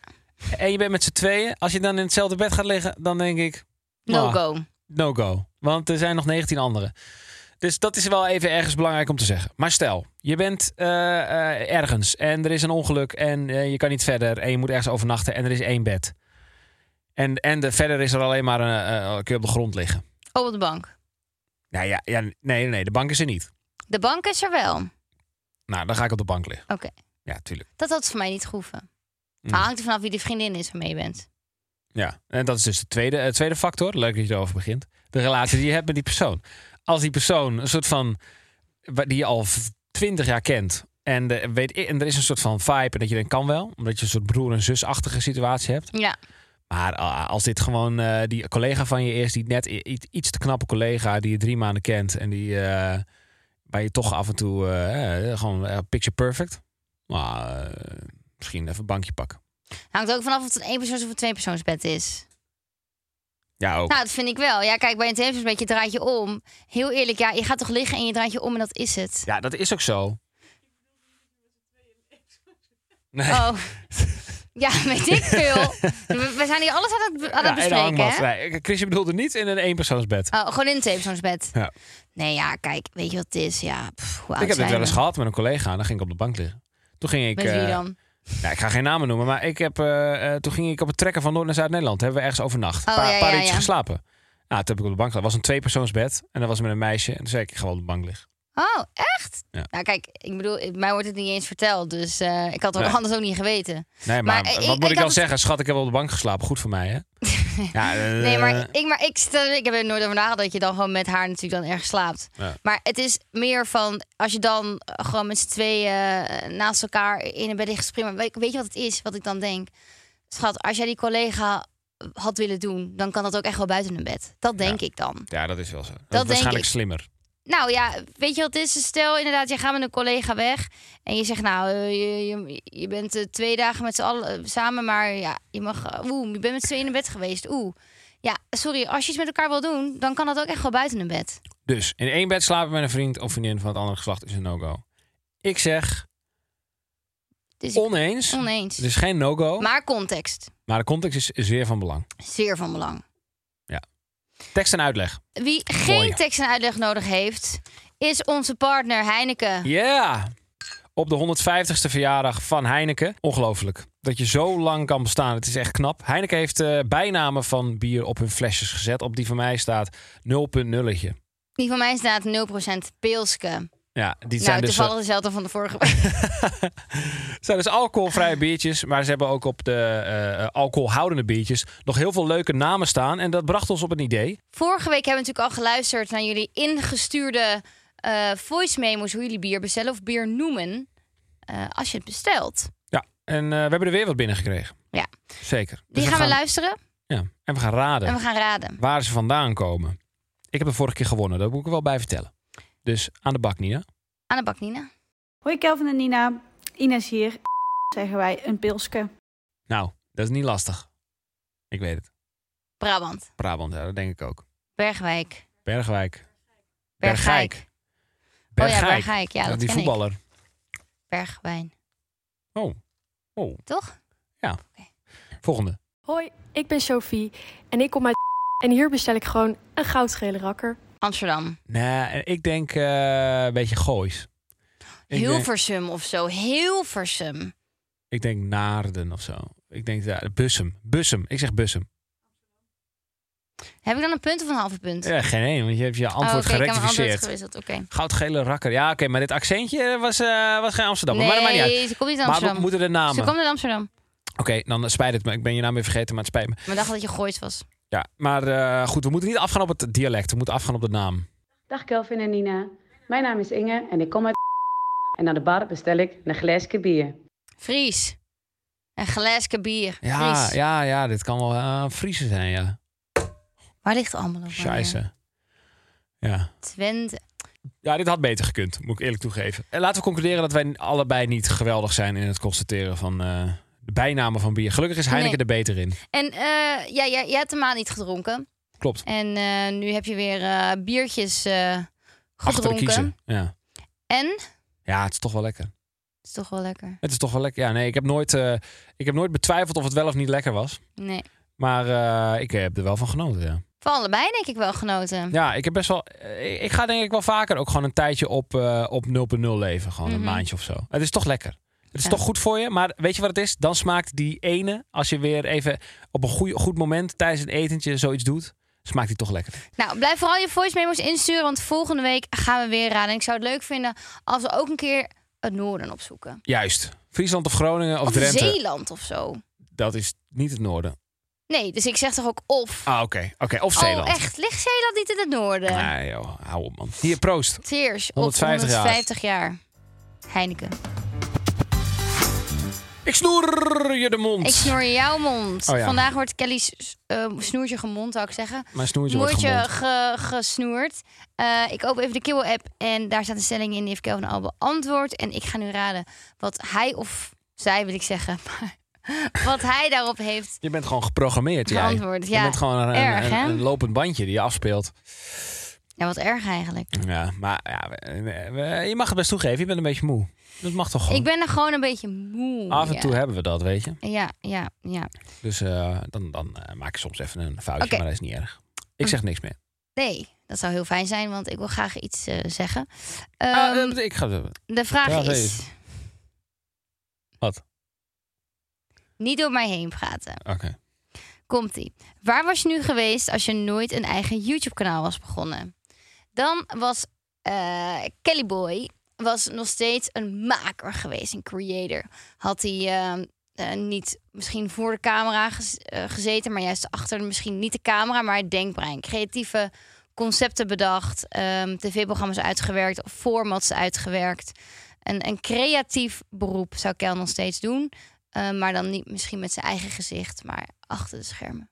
C: En je bent met z'n tweeën. Als je dan in hetzelfde bed gaat liggen, dan denk ik.
B: No
C: "Ah,
B: go.
C: no go. Want er zijn nog 19 anderen. Dus dat is wel even ergens belangrijk om te zeggen. Maar stel, je bent eh, eh, ergens en er is een ongeluk en eh, je kan niet verder en je moet ergens overnachten en er is één bed. En, en de, verder is er alleen maar een, eh, eh, kun je op de grond liggen.
B: Oh, op de bank.
C: Nou ja, ja nee, nee, de bank is er niet.
B: De bank is er wel. Oké.
C: Nou, dan ga ik op de bank liggen. Ja, tuurlijk.
B: Dat had voor mij niet gehoeven.
C: Mm.
B: Maar hangt er vanaf wie de vriendin is waarmee je bent.
C: Ja, en dat is dus de tweede, eh, tweede factor. Leuk dat je erover begint. De relatie die je hebt met die persoon. Als die persoon een soort van. wa- die je al twintig jaar kent. En, de, weet, i- en er is een soort van vibe. En dat je denkt kan wel. Omdat je een soort broer- en zusachtige situatie hebt.
B: Ja.
C: Maar ah, als dit gewoon eh, die collega van je is. die net i- iets, iets te knappe collega. die je drie maanden kent. en die. eh, waar je toch af en toe. eh, eh, gewoon eh, picture perfect. Maar. eh, misschien even een bankje pakken.
B: Hangt ook vanaf of het een eenpersoons- of een tweepersoonsbed is.
C: Ja, ook.
B: Nou, dat vind ik wel. Ja, kijk, bij een tweepersoonsbed, je draait je om. Heel eerlijk, ja, je gaat toch liggen en je draait je om en dat is het.
C: Ja, dat is ook zo. Nee.
B: Oh. Ja, weet ik veel. We, we zijn hier alles aan het, be-
C: Ja,
B: aan het
C: in de
B: bespreken,
C: hangmat.
B: hè?
C: Nee, Chrisje bedoelde niet in een eenpersoonsbed.
B: Oh, gewoon in een tweepersoonsbed.
C: Ja.
B: Nee, ja, kijk, weet je wat het is? Ja, pff, hoe
C: ik
B: oud
C: heb dit
B: zijn
C: wel eens
B: we?
C: gehad met een collega. En dan ging ik op de bank liggen. Toen ging ik...
B: Met wie
C: eh,
B: dan?
C: nou, ik ga geen namen noemen, maar ik heb, eh, eh, toen ging ik op het trekken van Noord naar Zuid-Nederland. Hebben we ergens overnacht.
B: Oh,
C: een paar,
B: ja,
C: paar
B: ja,
C: uurtjes
B: ja.
C: geslapen. Nou, toen heb ik op de bank gelegen. Het was een tweepersoonsbed. En dat was met een meisje. En toen zei ik, ik ga wel op de bank liggen.
B: Oh, echt?
C: Ja.
B: Nou, kijk, ik bedoel, mij wordt het niet eens verteld. Dus eh, ik had het ook
C: Nee.
B: anders ook niet geweten.
C: Nee, maar,
B: Maar
C: wat
B: ik-
C: moet
B: ik
C: ik,
B: had
C: dan
B: het-
C: zeggen? Schat, ik heb op de bank geslapen. Goed voor mij, hè? ja, eh,
B: Nee, maar ik, maar ik, stel, ik heb er nooit over nagedacht dat je dan gewoon met haar natuurlijk dan erg slaapt.
C: Ja.
B: Maar het is meer van als je dan gewoon met z'n tweeën eh, naast elkaar in een bed ligt te springen. Weet, weet je wat het is, wat ik dan denk? Schat, als jij die collega had willen doen, dan kan dat ook echt wel buiten een bed. Dat denk ik dan.
C: Ja, dat is wel zo. Dat, is
B: denk
C: waarschijnlijk
B: ik.
C: slimmer.
B: Nou ja, weet je wat het is? Stel inderdaad, je gaat met een collega weg en je zegt nou, eh, je, je, je bent eh, twee dagen met z'n allen eh, samen, maar ja, je mag, eh, oeh, je bent met z'n tweeën in bed geweest, oeh. Ja, sorry, als je iets met elkaar wil doen, dan kan dat ook echt wel buiten een bed.
C: Dus in één bed slapen met een vriend of vriendin van het andere geslacht is een no-go. Ik zeg
B: Dus ik-
C: oneens.
B: oneens.
C: Het is geen no-go, maar...
B: Maar context,
C: de context is, is weer van belang.
B: zeer van belang.
C: Tekst en uitleg.
B: Wie geen
C: Mooi.
B: tekst en uitleg nodig heeft, is onze partner Heineken.
C: Ja! Op de 150ste verjaardag van Heineken. Ongelooflijk. Dat je zo lang kan bestaan. Het is echt knap. Heineken heeft eh, bijnamen van bier op hun flesjes gezet. Op die van mij staat 0.0'tje.
B: Die van mij staat 0% Pilske.
C: Ja, die zijn
B: Nou,
C: dus...
B: toevallig is dat al van de vorige.
C: Het zijn dus alcoholvrije biertjes, maar ze hebben ook op de eh, alcoholhoudende biertjes nog heel veel leuke namen staan. En dat bracht ons op een idee.
B: Vorige week hebben we natuurlijk al geluisterd naar jullie ingestuurde eh, voice memos hoe jullie bier bestellen of bier noemen eh, als je het bestelt.
C: Ja, en eh, we hebben er weer wat binnengekregen.
B: Ja.
C: Zeker. Dus
B: Die gaan we
C: gaan-
B: luisteren
C: Ja, en we gaan raden
B: en we gaan raden.
C: waar ze vandaan komen. Ik heb de vorige keer gewonnen, dat moet ik er wel bij vertellen. Dus aan de bak, Nina.
B: Aan de bak, Nina.
E: Hoi Kelvin en Nina, Ines hier. Zeggen wij een pilske.
C: Nou, dat is niet lastig. Ik weet het.
B: Brabant,
C: Brabant, ja, dat denk ik ook.
B: Bergwijk,
C: Bergwijk.
B: Bergijk.
C: Bergijk.
B: Oh ja, Bergijk. Ja, dat
C: die
B: ken ik.
C: voetballer.
B: Bergwijn.
C: Oh. Oh.
B: Toch?
C: Volgende.
F: Hoi, ik ben Sophie en ik kom uit en hier bestel ik gewoon een goudgele rakker.
B: Amsterdam.
C: Nee, ik denk eh, een beetje goois. Ik denk,
B: Hilversum of zo. Hilversum.
C: ik denk Naarden of zo. Ik denk daar Bussum. Bussum. Ik zeg Bussum.
B: Heb ik dan een punt of een halve punt?
C: Ja, geen één, want je hebt je
B: Oh,
C: antwoord
B: oké, ik heb mijn
C: gerectificeerd.
B: antwoord gewisseld. Oké.
C: Goudgele rakker. Ja, oké, maar dit accentje was, eh, was geen Amsterdam. maar dat maakt niet uit.
B: Nee, ze komt niet uit
C: Maar we
B: Amsterdam.
C: moeten de
B: ze
C: namen.
B: komt uit Amsterdam.
C: Oké, dan spijt het me. Ik ben je naam weer vergeten, maar het spijt me.
B: Maar ik dacht dat je gooit was.
C: Ja, maar eh, goed, we moeten niet afgaan op het dialect. We moeten afgaan op de naam.
G: Dag Kelvin en Nina. Mijn naam is Inge en ik kom uit. En aan de bar bestel ik een glaasje bier.
B: Fries. Een glaasje bier.
C: Ja,
B: Fries.
C: ja, ja, dit kan wel eh Friese zijn,
B: Oh,
C: ja.
B: Waar ligt Almelo?
C: Scheisse. Ja.
B: Twente.
C: Ja, dit had beter gekund, moet ik eerlijk toegeven. En laten we concluderen dat wij allebei niet geweldig zijn in het constateren van eh, de bijnamen van bier. Gelukkig is Heineken
B: Nee.
C: er beter in.
B: En eh, ja, jij, jij hebt de maand niet gedronken.
C: Klopt.
B: En eh, nu heb je weer eh, biertjes eh,
C: Achter de
B: gedronken.
C: kiezen. Ja.
B: En? Dat
C: ja, het is toch wel lekker.
B: is toch wel lekker.
C: Het is toch wel lekker. Ja, nee, ik heb nooit, eh, ik heb nooit betwijfeld of het wel of niet lekker was.
B: Nee.
C: Maar eh, ik heb er wel van genoten, ja.
B: Van allebei denk ik wel genoten.
C: Ja, ik heb best wel. eh, Ik ga denk ik wel vaker ook gewoon een tijdje op, eh, op 0.0 leven. Gewoon
B: Mhm.
C: een maandje of zo. Het is toch lekker. Het is
B: Ja.
C: toch goed voor je. Maar weet je wat het is? Dan smaakt die ene, als je weer even op een goeie, goed moment tijdens een etentje zoiets doet, smaakt die toch lekker.
B: Nou, blijf vooral je voice memos insturen, want volgende week gaan we weer raden. En ik zou het leuk vinden als we ook een keer het noorden opzoeken.
C: Juist. Friesland of Groningen of,
B: Of
C: Drenthe,
B: Zeeland of zo.
C: dat is niet het noorden.
B: Nee, dus ik zeg toch ook of.
C: Ah, oké. Oké, of Zeeland.
B: Oh, echt? Ligt Zeeland niet in het noorden?
C: Nee, joh, hou op man. Hier, proost.
B: Teers op
C: 150 jaar.
B: 150 jaar. Heineken.
C: Ik snoer je de mond.
B: Ik snoer in jouw mond.
C: Oh ja.
B: Vandaag wordt Kelly's eh, snoertje gemond, zou ik zeggen.
C: Mijn snoertje wordt
B: Snoertje
C: gemond.
B: ge- gesnoerd. Eh, ik open even de Kibbel app en daar staat een stelling in. Die heeft Kelvin al beantwoord. En ik ga nu raden wat hij of zij, wil ik zeggen. Maar wat hij daarop heeft.
C: Je bent gewoon geprogrammeerd, jij.
B: Geantwoord,
C: Je
B: ja.
C: bent gewoon een, een-
B: Erg, hè?
C: een, een lopend bandje die je afspeelt.
B: Ja, wat erg eigenlijk.
C: Ja, maar ja, we- we- we- je mag het best toegeven. Je bent een beetje moe. Dat mag toch gewoon.
B: Ik ben er gewoon een beetje moe.
C: Af en
B: ja.
C: toe hebben we dat, weet je.
B: Ja, ja, ja.
C: Dus eh, dan, dan eh, maak je soms even een foutje,
B: Oké.
C: maar dat is niet erg. Ik zeg niks meer.
B: Nee, dat zou heel fijn zijn, want ik wil graag iets eh, zeggen.
C: Ah,
B: Ehm,
C: eh, ik ga.
B: de vraag
C: ja,
B: is...
C: zeker. Wat?
B: Niet door mij heen praten.
C: Oké.
B: Komt-ie. Waar was je nu geweest als je nooit een eigen YouTube-kanaal was begonnen? Dan was eh, Kelly Boy was nog steeds een maker geweest, een creator. Had hij eh, eh, niet misschien voor de camera gez- eh, gezeten, maar juist achter misschien niet de camera, maar het denkbrein. Creatieve concepten bedacht, ehm, tv-programma's uitgewerkt, of formats uitgewerkt. Een, een creatief beroep zou Kel nog steeds doen. Eh, maar dan niet misschien met zijn eigen gezicht, maar achter de schermen.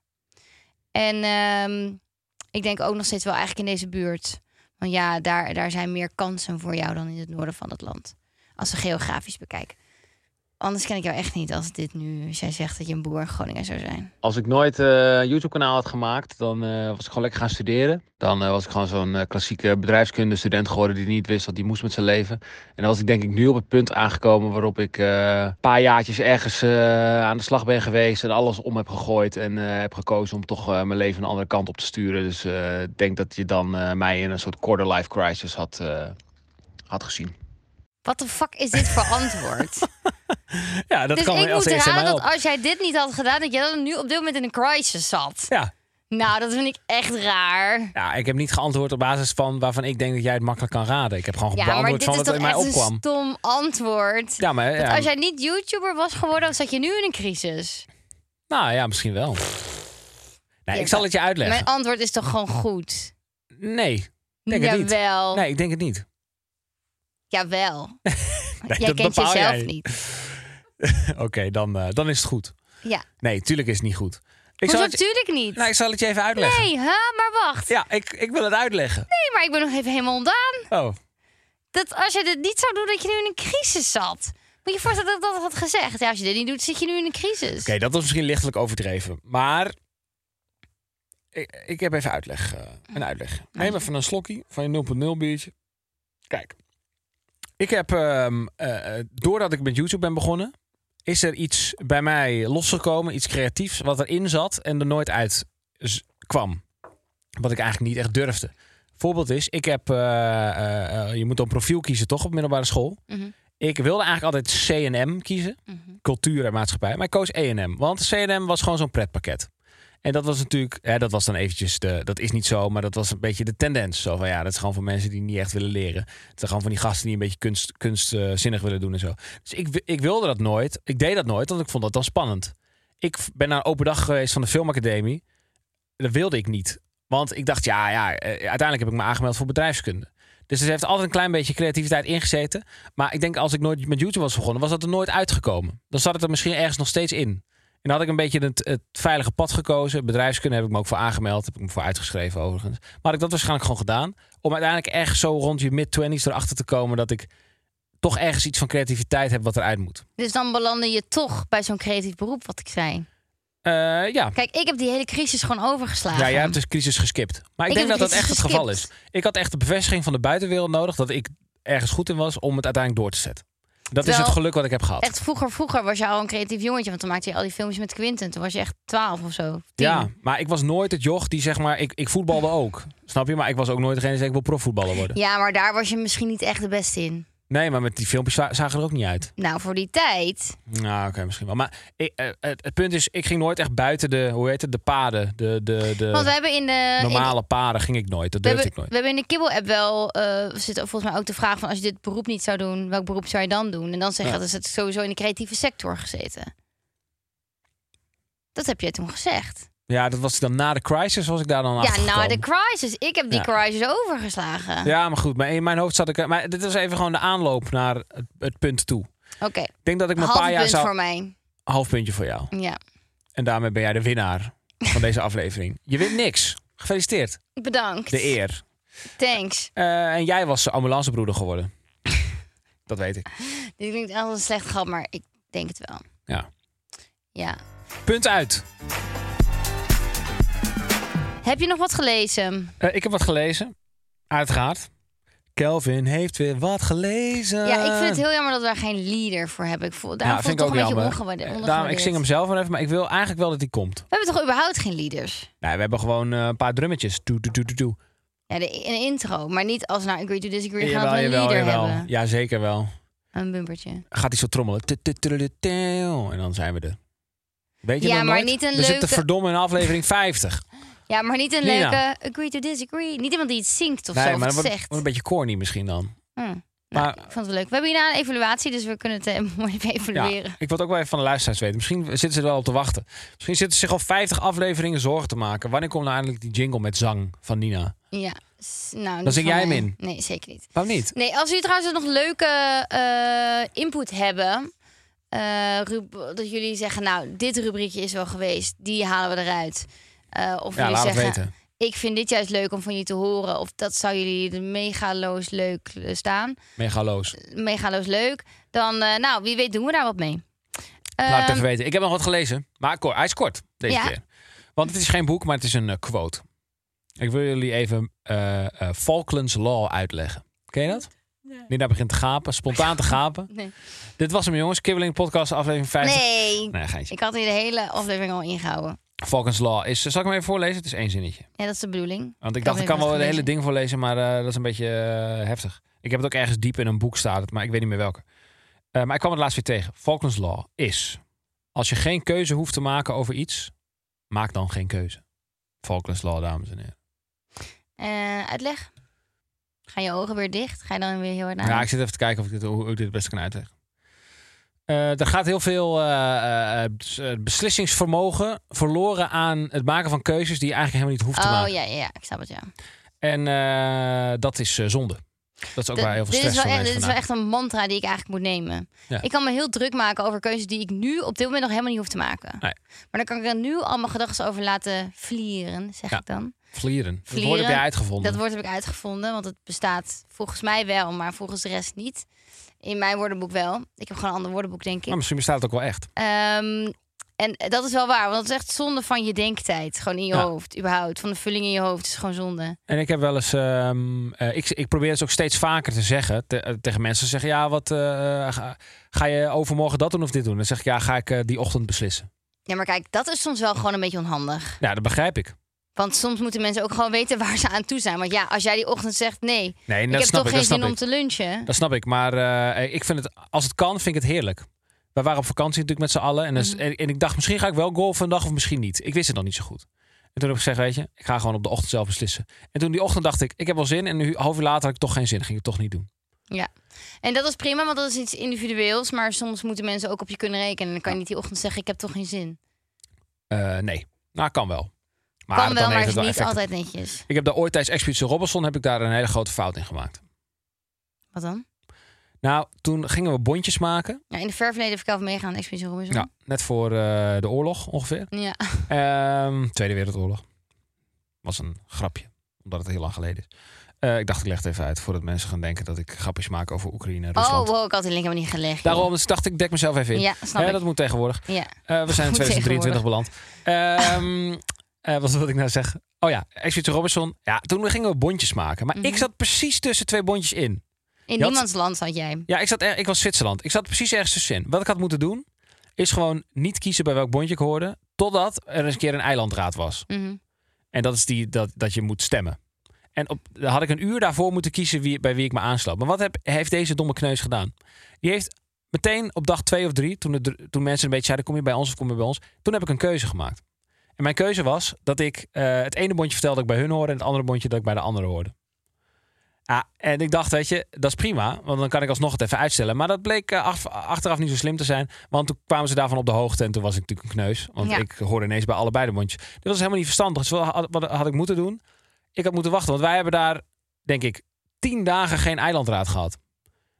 B: En ehm, ik denk ook nog steeds wel eigenlijk in deze buurt. Want ja, daar, daar zijn meer kansen voor jou dan in het noorden van het land. Als we geografisch bekijken. Anders ken ik jou echt niet als dit nu, als jij zegt dat je een boer in Groningen zou zijn.
H: Als ik nooit eh, een YouTube-kanaal had gemaakt, dan eh, was ik gewoon lekker gaan studeren. Dan eh, was ik gewoon zo'n eh, klassieke bedrijfskunde-student geworden die niet wist wat hij moest met zijn leven. En dan was ik denk ik nu op het punt aangekomen waarop ik eh, een paar jaartjes ergens eh, aan de slag ben geweest en alles om heb gegooid. En eh, heb gekozen om toch eh, mijn leven een andere kant op te sturen. Dus eh, ik denk dat je dan eh, mij in een soort quarter-life crisis had, eh, had gezien.
B: Wat de fuck is dit voor antwoord?
C: Ja, dat
B: dus
C: kan
B: ik
C: als
B: moet
C: eerste mij
B: herhalen dat
C: op.
B: als jij dit niet had gedaan, dat jij dan nu op dit moment in een crisis zat.
C: Ja.
B: Nou, dat vind ik echt raar.
C: ja, ik heb niet geantwoord op basis van waarvan ik denk dat jij het makkelijk kan raden. Ik heb gewoon
B: Ja, maar
C: beantwoord
B: dit
C: van
B: is
C: wat
B: toch
C: in mij
B: echt een
C: opkwam.
B: stom antwoord.
C: Ja, maar ja,
B: Als jij niet YouTuber was geworden, zat je nu in een crisis.
C: nou ja, misschien wel. Nee, ik zal het je
B: Mijn
C: uitleggen.
B: antwoord is toch gewoon goed?
C: Nee, ik denk het niet.
B: Jawel.
C: Nee, ik denk het niet.
B: Jawel.
C: Nee,
B: jij
C: dat
B: kent
C: bepaal
B: jezelf
C: jij.
B: niet.
C: Oké, dan, eh, dan is het goed.
B: Ja.
C: Nee, tuurlijk is het niet goed. Ik
B: Hoezo
C: zal het, je-
B: natuurlijk niet?
C: nou, ik zal het je even uitleggen.
B: nee, hè? maar wacht.
C: Ja, ik, ik wil het uitleggen.
B: Nee, maar ik ben nog even helemaal ontdaan.
C: Oh,
B: Dat als je dit niet zou doen, dat je nu in een crisis zat. Moet je je voorstellen dat ik dat had gezegd. Ja, als je dit niet doet, zit je nu in een crisis.
C: Oké, dat was misschien lichtelijk overdreven. Maar ik, ik heb even uitleg, eh, een uitleg. Neem even een slokje van je 0.0 biertje. Kijk, ik heb, ehm, eh, eh, doordat ik met YouTube ben begonnen, is er iets bij mij losgekomen, iets creatiefs, wat erin zat en er nooit uit z- kwam. Wat ik eigenlijk niet echt durfde. Voorbeeld is, ik heb, eh, eh, eh, je moet een profiel kiezen toch op middelbare school.
B: Mhm.
C: Ik wilde eigenlijk altijd C&M kiezen
B: Mhm.
C: cultuur en maatschappij. Maar ik koos E&M. Want C&M was gewoon zo'n pretpakket. En dat was natuurlijk, hè, dat was dan eventjes de, dat is niet zo, maar dat was een beetje de tendens. Zo van ja, dat is gewoon voor mensen die niet echt willen leren. Het zijn gewoon van die gasten die een beetje kunst, kunstzinnig willen doen en zo. Dus ik, wi- ik wilde dat nooit. Ik deed dat nooit, want ik vond dat dan spannend. Ik v- ben naar een open dag geweest van de Filmacademie. Dat wilde ik niet. Want ik dacht, ja, ja, eh, uiteindelijk heb ik me aangemeld voor bedrijfskunde. Dus er heeft altijd een klein beetje creativiteit ingezeten. Maar ik denk, als ik nooit met YouTube was begonnen, was dat er nooit uitgekomen. Dan zat het er misschien ergens nog steeds in. En dan had ik een beetje het, het veilige pad gekozen. Bedrijfskunde heb ik me ook voor aangemeld. Heb ik me voor uitgeschreven overigens. Maar had ik dat waarschijnlijk gewoon gedaan. Om uiteindelijk echt zo rond je mid-twenties erachter te komen dat ik toch ergens iets van creativiteit heb wat eruit moet.
B: Dus dan belandde je toch bij zo'n creatief beroep, wat ik zei.
C: Eh, ja.
B: Kijk, ik heb die hele crisis gewoon overgeslagen.
C: Ja, jij hebt dus crisis geskipt. Maar ik,
B: Ik
C: denk dat
B: heb de
C: dat echt
B: crisis
C: het geval is.
B: geskipt.
C: Ik had echt de bevestiging van de buitenwereld nodig dat ik ergens goed in was om het uiteindelijk door te zetten. Dat
B: Terwijl-
C: is het geluk wat ik heb gehad.
B: Echt vroeger, vroeger was je al een creatief jongetje, want toen maakte je al die filmpjes met Quinten. Toen was je echt 12 of zo. 10.
C: Ja, maar ik was nooit het joch die zeg maar... Ik, ik voetbalde ook, snap je? Maar ik was ook nooit degene die zei ik wil profvoetballer worden.
B: Ja, maar daar was je misschien niet echt de beste in.
C: Nee, maar met die filmpjes za- zagen er ook niet uit.
B: Nou, voor die tijd.
C: Nou, oké, misschien wel. Maar ik, eh, het, het punt is, ik ging nooit echt buiten de, hoe heet het, de paden. De, de, de
B: Want we hebben in de. in-
C: normale paden ging ik nooit. Dat
B: we,
C: durfde
B: hebben,
C: ik nooit.
B: we hebben in de Kibbel-app wel. eh zit ook volgens mij ook de vraag van: als je dit beroep niet zou doen, welk beroep zou je dan doen? En dan zeg je
C: Ja.
B: dat is het sowieso in de creatieve sector gezeten. Dat heb jij toen gezegd.
C: Ja, dat was dan na de crisis was ik daar dan
B: ja, na
C: achtergekomen.
B: de crisis. Ik heb die
C: Ja.
B: crisis overgeslagen.
C: Ja, maar goed. Maar in mijn hoofd zat ik... eh, Maar dit was even gewoon de aanloop naar het, het punt toe.
B: Oké,
C: Ik denk dat ik
B: een
C: me een paar
B: half
C: jaar
B: punt
C: zou...
B: voor mij.
C: Half puntje voor jou.
B: Ja.
C: En daarmee ben jij de winnaar van deze aflevering. Je wint niks. Gefeliciteerd.
B: Bedankt.
C: De eer.
B: Thanks.
C: Eh, en jij was ambulancebroeder geworden. dat weet ik.
B: Dit klinkt echt als een slecht grap, maar ik denk het wel.
C: Ja.
B: Ja.
C: Punt uit.
B: Heb je nog wat gelezen?
C: Eh, ik heb wat gelezen. Uiteraard. Kelvin heeft weer wat gelezen.
B: ja, ik vind het heel jammer dat we daar geen leader voor hebben. Ik voel, daarom
C: Eh. Ja,
B: voel
C: vind
B: ik toch
C: ook
B: een beetje
C: jammer.
B: ongewaardeerd.
C: Eh, daarom, ik zing hem zelf maar even, maar ik wil eigenlijk wel dat hij komt.
B: We hebben toch überhaupt geen leaders?
C: Nee, we hebben gewoon eh, een paar drummetjes. Doe, doe, doe, doe, doe.
B: Ja, de, een intro, maar niet als nou agree to disagree gaan we
C: Jawel,
B: een
C: jawel,
B: leader
C: jawel.
B: hebben.
C: Ja, zeker wel.
B: Een bumpertje.
C: Gaat hij zo trommelen. Tu, tu, tu, tu, tu. En dan zijn we er. Weet je
B: Ja,
C: nog
B: maar
C: nooit?
B: niet een
C: We
B: leuke-
C: zitten verdomme in aflevering 50.
B: Ja, maar niet een
C: Nina.
B: leuke agree to disagree. Niet iemand die het zingt of
C: nee, maar
B: zo, of
C: dat
B: het
C: wordt,
B: zegt.
C: wordt een beetje corny misschien dan.
B: Hm. Nou,
C: Maar-
B: ik vond het leuk. We hebben hierna een evaluatie, dus we kunnen het eh, mooi even
C: Ja,
B: evalueren.
C: ik wil het ook wel even van de luisteraars weten. Misschien zitten ze er wel op te wachten. Misschien zitten ze zich al 50 afleveringen zorgen te maken. Wanneer komt nou eindelijk die jingle met zang van Nina?
B: Ja, s- nou,
C: Dan
B: niet
C: zing
B: van
C: jij
B: mij.
C: hem in.
B: Nee, zeker niet.
C: Waarom niet?
B: Nee, als jullie trouwens nog leuke eh, input hebben. eh, rub- dat jullie zeggen, nou, dit rubriekje is wel geweest. Die halen we eruit. Eh, of
C: Ja,
B: jullie
C: laat het
B: zeggen,
C: weten.
B: ik vind dit juist leuk om van jullie te horen. Of dat zou jullie de megaloos leuk eh, staan.
C: Megaloos.
B: Megaloos leuk. Dan, eh, nou, wie weet doen we daar wat mee.
C: Laat het
B: Ehm,
C: even weten. Ik heb nog wat gelezen, maar ko- hij is kort deze
B: Ja.
C: keer. Want het is geen boek, maar het is een eh, quote. Ik wil jullie even eh, eh, Falklands Law uitleggen. Ken je dat?
A: Nee.
C: Nina begint te gapen, spontaan te gapen.
B: Ehm, Nee.
C: Dit was hem jongens, Kibbeling Podcast aflevering 50.
B: Nee,
C: Nee, geintje.
B: ik had hier de hele aflevering al ingehouden.
C: Falklands Law is, zal ik hem even voorlezen? Het is één zinnetje.
B: Ja, dat is de bedoeling.
C: Want ik,
B: Ik
C: dacht, ik
B: heb
C: kan wel
B: even wat
C: het hele
B: gelezen.
C: ding voorlezen, maar eh, dat is een beetje eh, heftig. Ik heb het ook ergens diep in een boek staan, maar ik weet niet meer welke. Eh, maar ik kwam het laatst weer tegen. Falklands Law is... Als je geen keuze hoeft te maken over iets, maak dan geen keuze. Falklands Law, dames en heren.
B: Eh, uitleg. Gaan je ogen weer dicht? Ga je dan weer heel erg naar?
C: Ja, ik zit even te kijken of ik dit, hoe ik dit het beste kan uitleggen. Eh, er gaat heel veel eh, eh, bes- eh, beslissingsvermogen verloren aan het maken van keuzes die je eigenlijk helemaal niet hoeft te
B: oh
C: maken.
B: ja, ja, ja, ik snap het, ja.
C: En eh, dat is eh, zonde. Dat is ook
B: Dit-
C: waar heel veel
B: dit is
C: stress
B: wel,
C: van
B: echt-
C: mensen
B: Dit is wel
C: vandaan
B: echt een mantra die ik eigenlijk moet nemen.
C: Ja.
B: Ik kan me heel druk maken over keuzes die ik nu op dit moment nog helemaal niet hoef te maken.
C: Nee.
B: Maar dan kan ik er nu al mijn gedachten over laten vlieren, zeg
C: Ja.
B: ik dan.
C: Vlieren. Dat woord
B: Vlieren,
C: heb jij uitgevonden.
B: Dat woord heb ik uitgevonden, want het bestaat volgens mij wel, maar volgens de rest niet. In mijn woordenboek wel. Ik heb gewoon een ander woordenboek, denk ik.
C: Nou, Maar misschien bestaat het ook wel echt.
B: Ehm, en dat is wel waar, want het is echt zonde van je denktijd. Gewoon in je
C: Ja.
B: hoofd, überhaupt. Van de vulling in je hoofd is gewoon zonde.
C: En ik heb wel eens... ehm, eh, ik, ik probeer het ook steeds vaker te zeggen. te- eh, tegen mensen zeggen... Ja, wat, eh, ga, ga je overmorgen dat doen of dit doen? Dan zeg ik... Ja, ga ik eh, die ochtend beslissen.
B: Ja, maar kijk, dat is soms wel gewoon een beetje onhandig.
C: Ja, dat begrijp ik.
B: Want soms moeten mensen ook gewoon weten waar ze aan toe zijn. Want ja, als jij die ochtend zegt nee,
C: Nee,
B: ik
C: dat
B: heb
C: snap
B: toch
C: ik.
B: geen
C: dat snap
B: zin om
C: ik.
B: te lunchen.
C: Dat snap ik. Maar eh, ik vind het... Als het kan, vind ik het heerlijk. Wij waren op vakantie natuurlijk met z'n allen. En, dus-
B: Mhm.
C: en, en ik dacht, misschien ga ik wel golfen een dag of misschien niet. Ik wist het nog niet zo goed. En toen heb ik gezegd, weet je, ik ga gewoon op de ochtend zelf beslissen. En toen die ochtend dacht ik, ik heb wel zin. En nu, een half uur later had ik toch geen zin. Ging ik het toch niet doen.
B: En dat is prima, want dat is iets individueels. Maar soms moeten mensen ook op je kunnen rekenen. En dan kan je niet die ochtend zeggen, ik heb toch geen zin.
C: Eh, nee. Nou, kan wel. Maar
B: kan wel,
C: dan
B: maar
C: heeft
B: het
C: het
B: is
C: wel
B: niet
C: effect.
B: altijd netjes.
C: Ik heb daar ooit tijdens Expeditie Robinson heb ik daar een hele grote fout in gemaakt.
B: Wat dan?
C: Nou, toen gingen we bondjes maken.
B: Ja, in de ver verleden heb ik al meegaan aan Expeditie Robinson.
C: Ja, net voor eh, de oorlog ongeveer.
B: Ja.
C: Ehm, Tweede Wereldoorlog. Was een grapje, omdat het heel lang geleden is. Eh, ik dacht, ik leg het even uit voordat mensen gaan denken dat ik grapjes maak over Oekraïne en
B: Oh,
C: Rusland.
B: wow, ik had die link helemaal niet gelegd. joh.
C: Daarom dus dacht ik, dek mezelf even in.
B: Ja, snap
C: Eh,
B: ik.
C: dat moet tegenwoordig.
B: Ja.
C: Eh, we zijn in
B: Moet
C: 2023 beland. Ehm eh, wat wilde ik nou zeggen? Oh ja, Expeditie Robinson. Ja, toen gingen we bondjes maken. Maar ik
B: Mhm.
C: zat precies tussen twee bondjes in.
B: In
C: had-
B: niemands land zat jij.
C: Ja, ik, zat er, ik was Zwitserland. Ik zat precies ergens tussenin. Wat ik had moeten doen, is gewoon niet kiezen bij welk bondje ik hoorde. Totdat er eens een keer een eilandraad was.
B: Mhm.
C: En dat is die dat, dat je moet stemmen. En op, dan had ik een uur daarvoor moeten kiezen wie, bij wie ik me aansloot. Maar wat heb, heeft deze domme kneus gedaan? Die heeft meteen op dag twee of drie, toen, het, er- toen mensen een beetje zeiden: kom je bij ons of kom je bij ons? Toen heb ik een keuze gemaakt. En mijn keuze was dat ik eh, het ene bondje vertelde dat ik bij hun hoorde en het andere bondje dat ik bij de andere hoorde. Ja, en ik dacht, weet je, dat is prima, want dan kan ik alsnog het even uitstellen. Maar dat bleek eh, af- achteraf niet zo slim te zijn, want toen kwamen ze daarvan op de hoogte en toen was ik natuurlijk een kneus. Want
B: Ja.
C: ik hoorde ineens bij allebei de bondjes. Dit was helemaal niet verstandig. Dus wat had, wat had ik moeten doen? Ik had moeten wachten, want wij hebben daar, denk ik, tien dagen geen eilandraad gehad.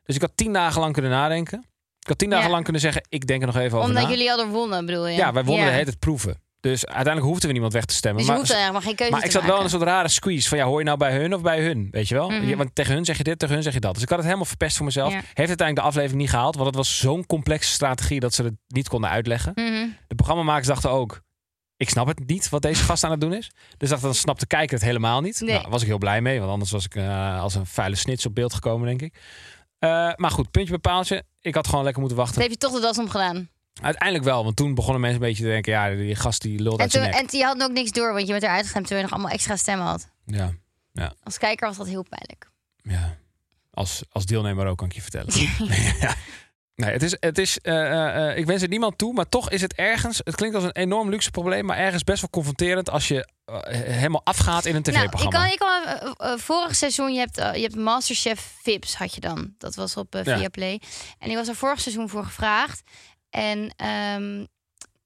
C: Dus ik had tien dagen lang kunnen nadenken. Ik had tien dagen
B: Ja.
C: lang kunnen zeggen, ik denk er nog even over
B: Omdat
C: na.
B: jullie hadden wonnen, bedoel je?
C: Ja, wij wonnen de hele tijd proeven. Dus uiteindelijk hoefden we niemand weg te stemmen.
B: Dus je
C: maar
B: hoeft er eigenlijk maar geen keuze
C: maar
B: te
C: ik zat wel
B: maken.
C: in een soort rare squeeze van ja, hoor je nou bij hun of bij hun? Weet je wel?
B: Mhm.
C: Je- want tegen hun zeg je dit, tegen hun zeg je dat. Dus ik had het helemaal verpest voor mezelf.
B: Ja.
C: Heeft uiteindelijk de aflevering niet gehaald, want het was zo'n complexe strategie dat ze het niet konden uitleggen.
B: Mhm.
C: De programmamakers dachten ook, ik snap het niet wat deze gast aan het doen is. Dus dacht, dan snapt de kijker het helemaal niet.
B: Nee.
C: Nou, daar was ik heel blij mee, want anders was ik eh, als een vuile snits op beeld gekomen, denk ik. Eh, maar goed, puntje bij paaltje. Ik had gewoon lekker moeten wachten.
B: Dat heb je toch de das omgedaan.
C: Uiteindelijk wel, want toen begonnen mensen een beetje te denken... ja, die gast die lult
B: En,
C: uit
B: toen,
C: zijn nek.
B: en je had ook niks door, want je werd eruit gestemd terwijl je nog allemaal extra stemmen had.
C: Ja,
B: Als kijker was dat heel pijnlijk.
C: ja. Als, als deelnemer ook, kan ik je vertellen. ja. Nee, het is... Het is eh, eh, eh, ik wens het niemand toe, maar toch is het ergens... het klinkt als een enorm luxe probleem... maar ergens best wel confronterend als je eh, helemaal afgaat in een
B: Nou, ik
C: tv-programma.
B: kan, ik kan, eh, eh, vorig seizoen, je hebt, eh, je hebt Masterchef Vips had je dan. Dat was op eh,
C: Ja.
B: Viaplay. En ik was er vorig seizoen voor gevraagd. En ehm,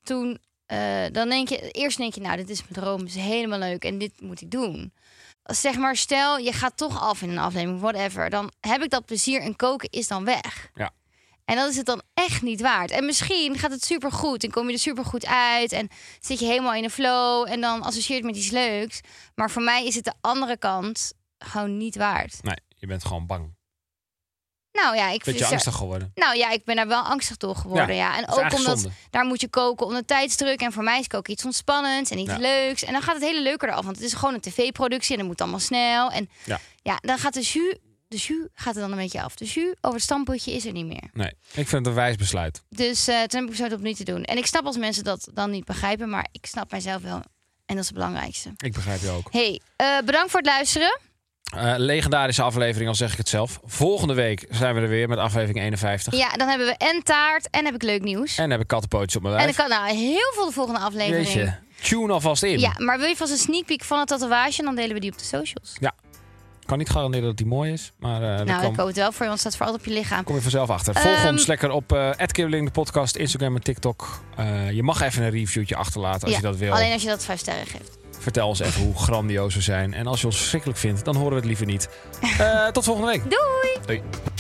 B: toen, eh, dan denk je, eerst denk je, nou, dit is mijn droom, dit is helemaal leuk en dit moet ik doen. Zeg maar, stel, je gaat toch af in een aflevering, whatever. Dan heb ik dat plezier en koken is dan weg.
C: Ja.
B: En dat is het dan echt niet waard. En misschien gaat het supergoed en kom je er supergoed uit en zit je helemaal in de flow en dan associeert het met iets leuks. Maar voor mij is het de andere kant gewoon niet waard.
C: Nee, je bent gewoon bang.
B: Nou ja, ik
C: Beetje
B: vind-
C: angstig geworden.
B: Nou ja, ik ben daar wel angstig door geworden. Ja. En
C: dat is
B: ook
C: eigenlijk
B: omdat
C: zonde.
B: daar moet je koken onder tijdsdruk. En voor mij is koken iets ontspannends en iets
C: Ja.
B: leuks. En dan gaat het hele leuker eraf. Want het is gewoon een tv-productie en dat moet allemaal snel. En
C: Ja.
B: ja, dan gaat de jus, de jus gaat er dan een beetje af. De jus over het stampotje is er niet meer.
C: Nee, ik vind het een wijs besluit.
B: Dus eh, toen heb ik besloten opnieuw te doen. En ik snap als mensen dat dan niet begrijpen. Maar ik snap mijzelf wel. En dat is het belangrijkste.
C: Ik begrijp je ook.
B: hey, eh, bedankt voor het luisteren.
C: Eh, legendarische aflevering, al zeg ik het zelf. Volgende week zijn we er weer met aflevering 51.
B: Ja, dan hebben we en taart en heb ik leuk nieuws.
C: En heb ik kattenpootjes op mijn
B: En ik
C: lijf.
B: kan nou heel veel de volgende aflevering.
C: Jeetje, tune alvast in.
B: Ja, maar wil je vast een sneak peek van het tatoeage? Dan delen we die op de socials.
C: Kan niet garanderen dat die mooi is, maar eh daar
B: nou,
C: kom,
B: ik hoop het wel voor je, want het staat voor altijd op je lichaam.
C: kom je vanzelf achter. Volg
B: Ehm,
C: ons lekker op eh @kibbeling de podcast, Instagram en TikTok. Eh, je mag even een reviewtje achterlaten als
B: Ja,
C: je dat wil.
B: Alleen als je dat vijf sterren geeft.
C: Vertel ons even hoe grandioos we zijn. En als je ons verschrikkelijk vindt, dan horen we het liever niet. Eh, tot volgende week.
B: Doei!
C: Doei.